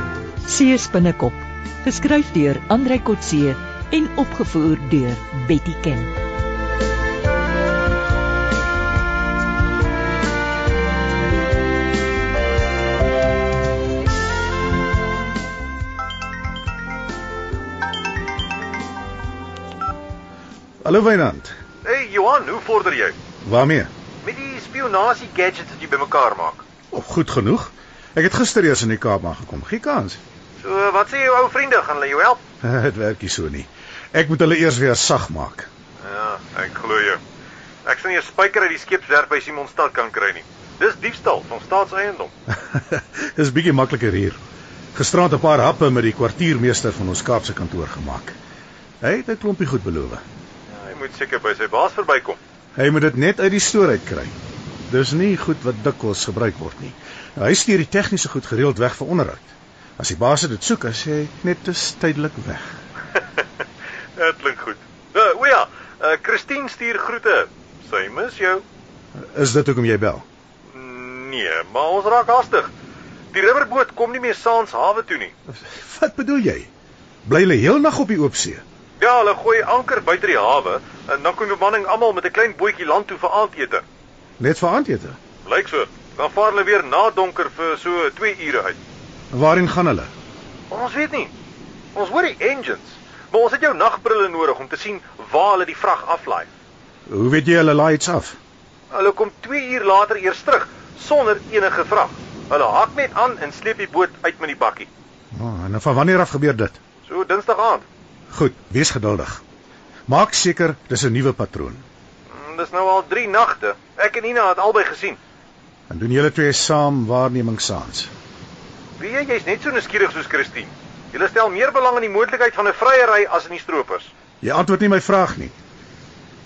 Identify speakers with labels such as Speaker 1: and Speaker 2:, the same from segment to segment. Speaker 1: Kotse se binnekop, geskryf deur Andrei Kotse en opgevoer deur Betty Ken.
Speaker 2: Hallo Wynand.
Speaker 3: Hey Johan, hoe vorder jy?
Speaker 2: Waarmee?
Speaker 3: Met die spionasie gadgets wat jy bymekaar maak.
Speaker 2: Oh, goed genoeg. Ek het gister eers in die Kaap aangekom. Gie kans.
Speaker 3: So, wat sê jou ou vriende, gaan hulle jou help?
Speaker 2: Dit werk nie so nie. Ek moet hulle eers weer sag maak.
Speaker 3: Ja, ek glo jou. Ek sien jy spyker uit die skeepswerf by Simonstad kan kry nie. Dis diefstal van staatseiendom.
Speaker 2: Dis bietjie makliker hier. Gisterand 'n paar happe met die kwartiermeester van ons Kaapse kantoor gemaak. Hy het 'n klompie goed beloof.
Speaker 3: Ja, hy moet seker by sy baas verbykom.
Speaker 2: Hy moet dit net uit die stoor uit kry. Dis nie goed wat dikwels gebruik word nie. Nou, hy stuur die tegniese goed gereeld weg vir onderhoud. As die baas dit soek, as hy net dis tydelik weg.
Speaker 3: Dit klink goed. Uh, o ja, uh, Christine stuur groete. Sy mis jou.
Speaker 2: Is dit hoekom jy bel?
Speaker 3: Nee, maar ons raak haastig. Die rubberboot kom nie meer saans hawe toe nie.
Speaker 2: Wat bedoel jy? Bly hulle heelnag op die oop see?
Speaker 3: Ja, hulle gooi anker buite die hawe en dan kom die bemanning almal met 'n klein bootjie land toe vir aandete.
Speaker 2: Net vir aandete.
Speaker 3: Lyk so. Dan vaar hulle weer na donker vir so 2 ure uit.
Speaker 2: Waarheen gaan hulle?
Speaker 3: Ons weet nie. Ons hoor die engines, maar ons het jou nagbrille nodig om te sien waar hulle die vrag aflaai.
Speaker 2: Hoe weet jy hulle laai iets af?
Speaker 3: Hulle kom 2 uur later eers terug sonder enige vrag. Hulle hak net aan en sleep die boot uit met die bakkie.
Speaker 2: Oh, en van wanneer af gebeur dit?
Speaker 3: So Dinsdag aand.
Speaker 2: Goed, wees geduldig. Maak seker dis 'n nuwe patroon.
Speaker 3: Mm, Dis nou al 3 nagte. Ek en Ina het albei gesien.
Speaker 2: En doen julle twee saam waarneming saans.
Speaker 3: Wie jy jy's net so nuuskierig soos Christine. Jy stel meer belang in die moontlikheid van 'n vryery as in die stroopers.
Speaker 2: Jy antwoord nie my vraag nie.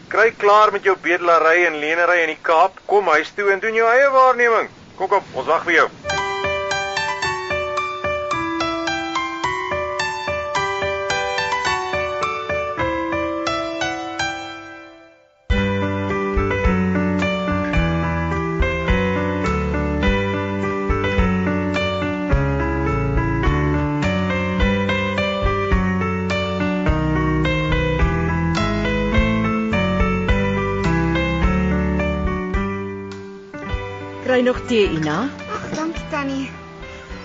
Speaker 3: Kry klaar met jou bedelary en lenery in die Kaap. Kom huis toe en doen jou eie waarneming. Kom kom, ons wag vir jou.
Speaker 4: Kry nog tee, Ina.
Speaker 5: Ag, dankie Tannie.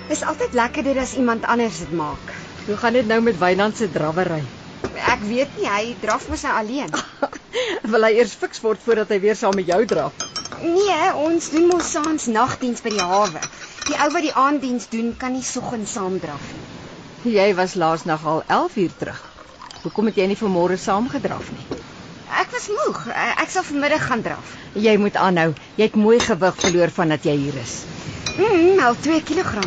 Speaker 5: Dis altyd lekkerder as iemand anders dit maak.
Speaker 4: Hoe gaan dit nou met Wynand se drawery?
Speaker 5: Ek weet nie, hy draf mos nou alleen.
Speaker 4: Wil hy eers fiks word voordat hy weer saam met jou draf?
Speaker 5: Nee, ons doen mos saans nagdiens by die hawe. Die ou wat die aanddiens doen, kan nie soggens saam draf nie.
Speaker 4: Jy was laas nag al 11 uur terug. Hoekom het jy nie vanmôre saam gedraf nie?
Speaker 5: Ek was moeg. Eh, Ek sal vanmiddag gaan draf.
Speaker 4: Jy moet aanhou. Jy het mooi gewig verloor vandat jy hier is.
Speaker 5: Mm, al 2 kg.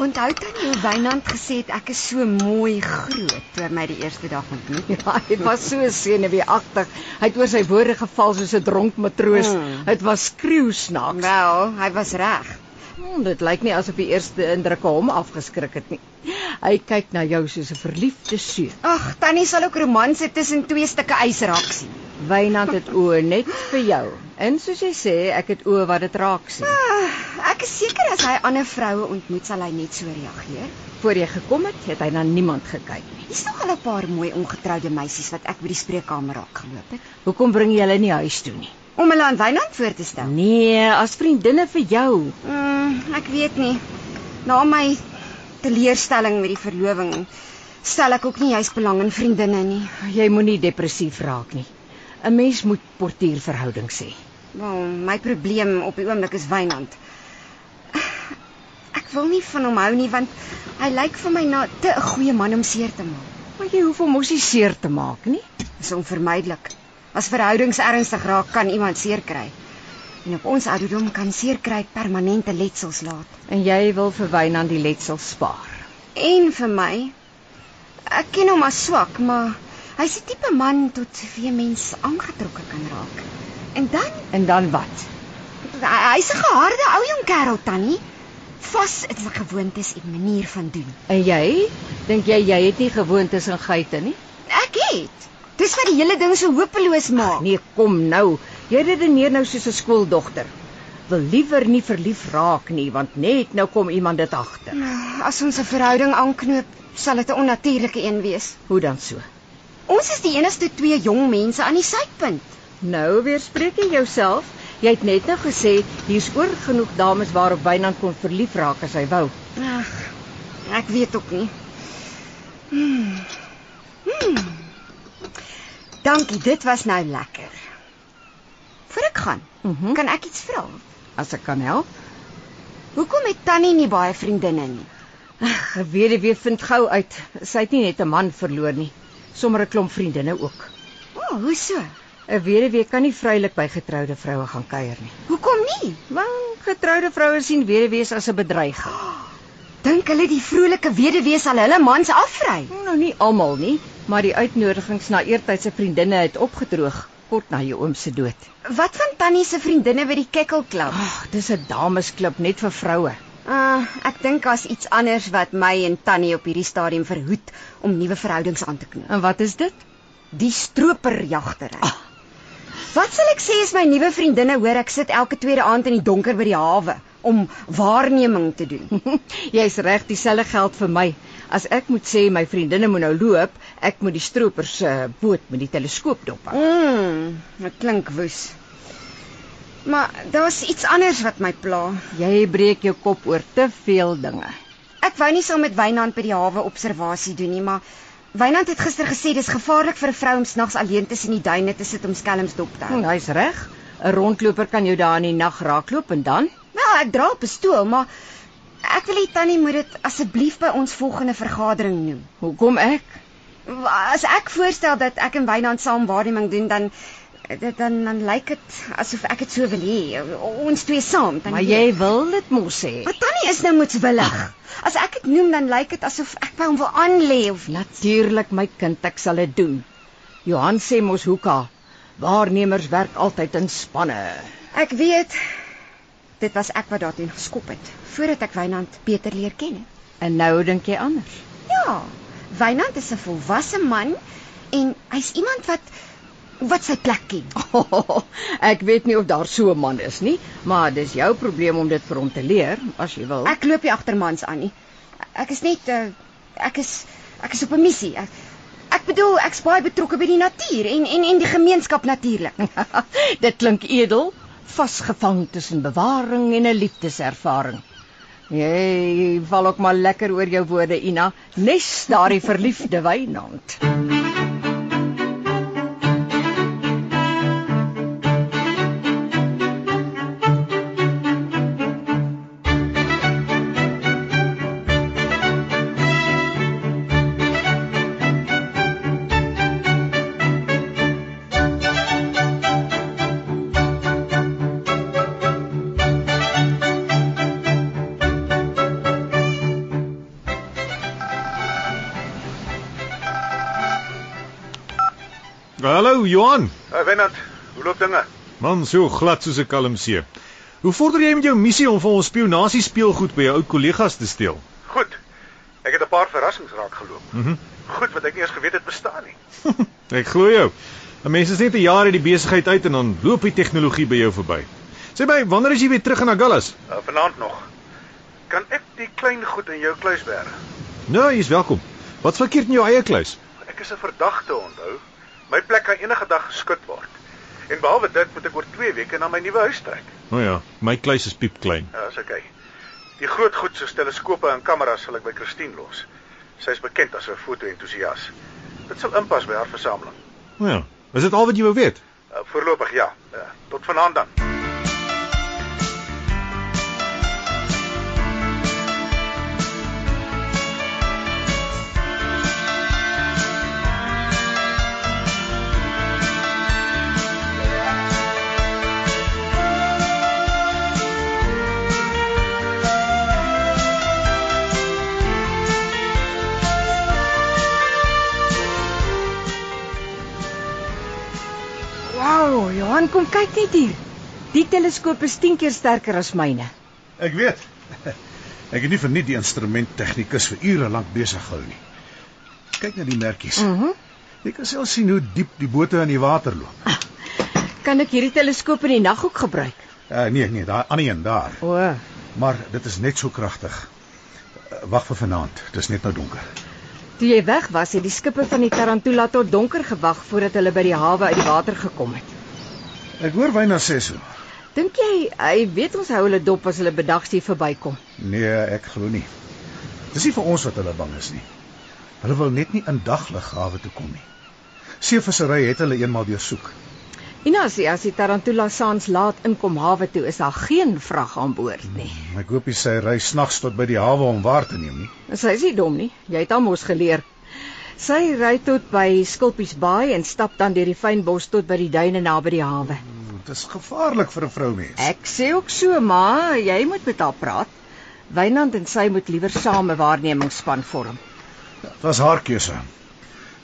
Speaker 5: Onthou Tannie hoe Wynand gesê het ek is so mooi groot toe hy my die eerste dag ontmoet het.
Speaker 4: Ja, hy was so senuweeagtig. Hy het oor sy woorde geval soos 'n dronk matroos.
Speaker 5: Mm.
Speaker 4: Dit was skreeusnaaks.
Speaker 5: Wel, hy was reg.
Speaker 4: Hmm, dit lyk nie asof die eerste indrukke hom afgeskrik het nie. Hy kyk na jou soos 'n verliefde seun.
Speaker 5: Ag, Tannie sal ook romanse tussen twee stukke ys raak sien.
Speaker 4: Wynand het oë net vir jou. En soos jy sê, ek het oë wat dit raak sien.
Speaker 5: Ah, Ek is seker as hy ander vroue ontmoet sal hy net so reageer.
Speaker 4: Voor jy gekom het, het hy na niemand gekyk nie.
Speaker 5: Hier's nog al 'n paar mooi ongetroude meisies wat ek by die spreekkamer raak geloop het
Speaker 4: Hoekom bring jy hulle nie huis toe nie?
Speaker 5: om hulle aan Wynand voor te stel.
Speaker 4: Nee, as vriendinne vir jou.
Speaker 5: Mm, ek weet nie. Na my teleurstelling met die verloving stel ek ook nie juis belang in vriendinne nie.
Speaker 4: Jy moenie depressief raak nie. 'n Mens moet portierverhoudings hê.
Speaker 5: Wel, my probleem op die oomblik is Wynand. Ek wil nie van hom hou nie want hy lyk vir my na te 'n goeie man om seer te maak.
Speaker 4: Maar jy hoef hom mos nie seer te maak nie.
Speaker 5: is onvermydelik. As verhoudings ernstig raak, kan iemand seer kry. En op ons ouderdom kan seer kry permanente letsels laat.
Speaker 4: En jy wil vir Wynand die letsel spaar.
Speaker 5: En vir my, ek ken hom as swak, maar hy's die tipe man tot wie mens aangetrokke kan raak. En dan,
Speaker 4: En dan wat?
Speaker 5: hy- hy's 'n geharde ou jong kerel tannie. Vas in sy gewoontes en manier van doen.
Speaker 4: En jy? Dink jy jy het nie gewoontes en geite nie?
Speaker 5: Ek het. Dis wat die hele ding so hopeloos maak.
Speaker 4: Nee, kom nou. Jy redeneer nou soos 'n skooldogter. wil liewer nie verlief raak nie, want net nou kom iemand dit agter.
Speaker 5: As ons 'n verhouding aanknoop, sal dit 'n onnatuurlike een wees.
Speaker 4: Hoe dan so?
Speaker 5: Ons is die enigste twee jong mense aan die suidpunt.
Speaker 4: Nou weer spreek jy jouself. Jy het net nou gesê hier's oor genoeg dames waarop Wynand kon verlief raak as hy wou.
Speaker 5: Ag, ek weet ook nie. Hmm. Hmm. Dankie, dit was nou lekker. Voor ek gaan,
Speaker 4: Mhm. Mm
Speaker 5: kan ek iets vra?
Speaker 4: as ek kan help.
Speaker 5: Hoekom het Tannie nie baie vriendinne nie?
Speaker 4: Weduwee vind gou uit. Sy het nie net 'n man verloor nie, sommer 'n klomp vriendinne ook.
Speaker 5: O, oh, hoe so?
Speaker 4: 'n Weduwee kan nie vrylik by getroude vroue gaan kuier nie.
Speaker 5: Hoekom nie?
Speaker 4: Want getroude vroue sien weduwees as 'n bedreiging.
Speaker 5: Dink hulle die vrolike weduwee sal hulle mans afvry?
Speaker 4: Nou nie almal nie, maar die uitnodigings na eertydse vriendinne het opgedroog kort na jou oom se dood.
Speaker 5: Wat van Tannie se vriendinne by die Kekkelklub?
Speaker 4: Ag, dis 'n damesklub net vir vroue.
Speaker 5: Uh, ek dink daar's iets anders wat my en Tannie op hierdie stadium verhoed om nuwe verhoudings aan te knoop.
Speaker 4: En wat is dit?
Speaker 5: Die stroperjagtery. Wat sal ek sê as my nuwe vriendinne hoor ek sit elke tweede aand in die donker by die hawe om waarneming te doen?
Speaker 4: Jy's reg, dieselfde geld vir my. As ek moet sê my vriendinne moet nou loop, ek moet die stroopers se uh, boot met die teleskoop dop hou.
Speaker 5: Mm, dit klink woes. Maar daar's iets anders wat my pla.
Speaker 4: Jy breek jou kop oor te veel dinge.
Speaker 5: Ek wou nie saam met Wynand by die hawe observasie doen nie, maar Wynand het gister gesê dis gevaarlik vir 'n vrou om snags alleen tussen die duine te sit om skelms dop te hou.
Speaker 4: Hm, Hy's reg. 'n Rondloper kan jou daar in die nag raakloop en dan
Speaker 5: Wel, ek dra 'n pistool, maar ek wil hê Tannie moet dit asseblief by ons volgende vergadering noem.
Speaker 4: hoekom ek?
Speaker 5: As ek voorstel dat ek en Wynand saam waarneming doen, dan dan dan, dan lyk dit asof ek dit so wil hê. Ons twee saam, dan
Speaker 4: Maar jy wil dit mos sê.
Speaker 5: Maar Tannie is nou moetswillig. As ek dit noem, dan lyk dit asof ek by hom wil aanlê of
Speaker 4: Natuurlik my kind, ek sal dit doen. Johan sê mos hoeka. Waarnemers werk altyd in spanne.
Speaker 5: Ek weet dit was ek wat daarteen geskop het voordat ek Wynand beter leer ken het.
Speaker 4: En nou dink jy anders.
Speaker 5: Ja, Wynand is 'n volwasse man en hy's iemand wat wat sy plek ken.
Speaker 4: Oh, ek weet nie of daar so 'n man is nie, maar dis jou probleem om dit vir hom te leer as jy wil.
Speaker 5: Ek loop nie agter mans aan nie. Ek is net eh, ek is ek is op 'n missie. Ek, ek bedoel ek's baie betrokke by die natuur en en en die gemeenskap natuurlik.
Speaker 4: Dit klink edel, vasgevang tussen bewaring en 'n liefdeservaring. Jy val ook maar lekker oor jou woorde, Ina. Nes daardie verliefde Wynand.
Speaker 6: Hallo Johan.
Speaker 3: Uh, Wennard, hoe loop dinge?
Speaker 6: Man, so glad soos 'n kalm see. Hoe vorder jy met jou missie om vir ons spionasie speelgoed by jou ou kollegas te steel?
Speaker 3: Goed. Ek het 'n paar verrassings raak geloop.
Speaker 6: Mhm.
Speaker 3: Goed wat ek nie eens geweet het bestaan nie.
Speaker 6: Ek glo jou. 'n Mens is net 'n jaar uit die besigheid uit en dan loop die tegnologie by jou verby. Sê my, wanneer is jy weer terug in Agallas?
Speaker 3: Uh, vanaand nog. Kan ek die klein goed in jou kluis berg?
Speaker 6: Nou, jy's welkom. Wat's verkeerd in jou eie kluis?
Speaker 3: Ek is 'n verdagte, onthou. My plek kan enige dag geskit word. En behalwe dit moet ek oor 2 weke na my nuwe huis trek.
Speaker 6: O oh ja, my kluis is piepklein.
Speaker 3: Ja, is okay. Die groot goed soos teleskope en kameras sal ek by Christine los. Sy is bekend as 'n foto-entoesias. Dit sal inpas by haar versameling.
Speaker 6: O ja, is dit al wat jy wou weet?
Speaker 3: Uh, voorlopig ja. Uh, tot vanaand dan.
Speaker 4: Wow, Johan, kom kyk net hier. Die teleskoop is 10 keer sterker as myne.
Speaker 2: Ek weet. Ek het nie verniet die instrument tegnikus vir ure lank besig gehou nie. Kyk na die merkies.
Speaker 4: Mhm. Mm
Speaker 2: Jy kan self sien hoe diep die bote in die water loop.
Speaker 4: kan ek hierdie teleskoop in die nag ook gebruik?
Speaker 2: Uh, nee, nee, daai ander een daar.
Speaker 4: O,
Speaker 2: Maar dit is net so kragtig. Uh, Wag vir vanaand. Dit is net nou donker.
Speaker 4: toe jy weg was, het die skipper van die Tarantula tot donker gewag voordat hulle by die hawe uit die water gekom het.
Speaker 2: Ek hoor Wyna sê so.
Speaker 4: Dink jy hy weet ons hou hulle dop as hulle bedags hier verbykom?
Speaker 2: Nee, ek glo nie. Dis nie vir ons wat hulle bang is nie. Hulle wil net nie in dagliggawe toe kom nie. Seevissery het hulle eenmal deursoek.
Speaker 4: Ina sê as die Tarantula saans laat inkom hawe toe, is daar geen vrag aan boord nie.
Speaker 2: Ek hoop hy sy ry snags tot by die hawe om waar te neem nie.
Speaker 4: Hmm. Sy is nie dom nie. Jy het almos geleer. Sy ry tot by Skulpies Baai en stap dan deur die fynbos tot by die duine naby die hawe.
Speaker 2: Dit is gevaarlik vir 'n vroumens.
Speaker 4: Ek sê ook so, maar jy moet met haar praat. Wynand en sy moet liewer same waarnemingsspan vorm.
Speaker 2: Dit was haar keuse.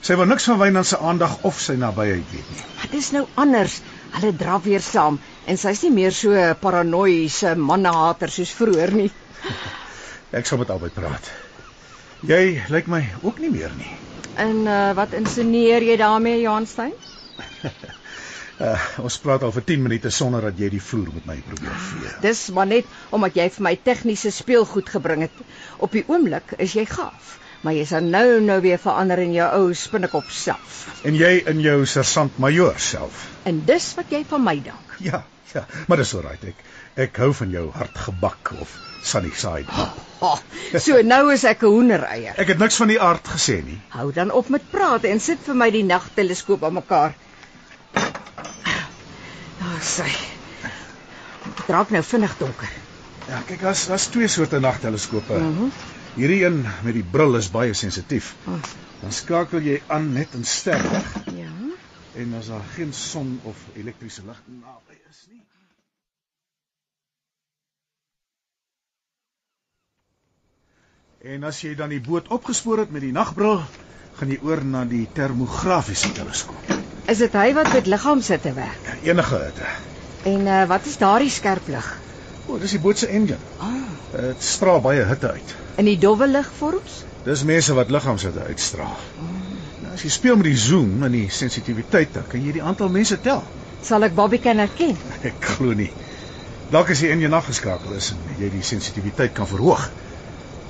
Speaker 2: Sy wil niks van Wynand se aandag of sy nabyheid weet nie.
Speaker 4: Maar dis nou anders. Hulle draf weer saam en sy's nie meer so 'n paranoïese mannehater soos vroeër nie.
Speaker 2: Ek sal met albei praat. Jy lyk my ook nie meer nie.
Speaker 4: En uh, wat insinueer jy daarmee, Johanstein?
Speaker 2: Uh, ons praat al vir 10 minute sonder dat jy die vloer met my probeer vee.
Speaker 4: Dis maar net omdat jy vir my tegniese speelgoed gebring het. Op die oomblik is jy gaaf, maar jy sal nou nou weer verander in jou ou spinnekop self.
Speaker 2: En jy in jou sergeant-majoor self.
Speaker 4: En dis wat jy van my dink.
Speaker 2: Ja, ja, maar dis alright. Ek ek hou van jou hartgebak of sunny side. up.
Speaker 4: Oh, so nou is ek 'n hoendereier.
Speaker 2: Ek het niks van die aard gesê nie.
Speaker 4: Hou dan op met praat en sit vir my die nagteleskoop aan mekaar. Daar sy. Dit raak nou vinnig donker.
Speaker 2: Ja, kyk, daar's daar's twee soorte nagteleskope. Mm -hmm. Hierdie een met die bril is baie sensitief.
Speaker 4: Oh.
Speaker 2: Dan skakel jy aan net in sterre
Speaker 4: Ja.
Speaker 2: en as daar geen son of elektriese lig naby is nie. En as jy dan die boot opgespoor het met die nagbril, gaan jy oor na die termografiese teleskoop.
Speaker 4: Is dit hy wat met liggaam sit te werk?
Speaker 2: Enige hitte.
Speaker 4: En uh, wat is daardie skerp lig?
Speaker 2: O, dis die boot se engine. Eh,
Speaker 4: Ah,
Speaker 2: Dit straal baie hitte uit.
Speaker 4: in die dowwe ligvorms?
Speaker 2: Dis mense wat liggaamshitte uitstraal. Nou as jy speel met die zoom en die sensitiwiteit, dan kan jy die aantal mense tel.
Speaker 4: Sal ek Bobby kan herken?
Speaker 2: Ek glo nie. Dalk as jy in jou nag geskakel is en jy die sensitiwiteit kan verhoog.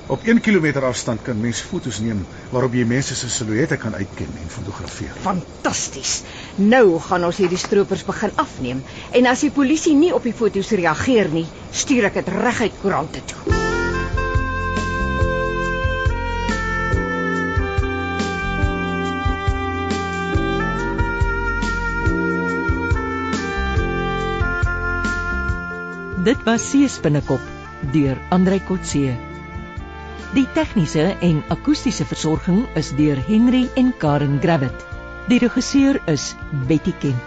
Speaker 2: Op 1 km afstand kan mens fotos neem waarop jy mense se silhouette kan uitken en fotografeer.
Speaker 4: Fantasties. Nou gaan ons hierdie stroopers begin afneem en as die polisie nie op die foto's reageer nie, stuur ek dit reguit koerante toe.
Speaker 1: Dit was Seespinnekop deur Andrei Kotse. Die tegniese en akoestiese versorging is deur Henry en Karen Gravett. Die regisseur is Betty Ken.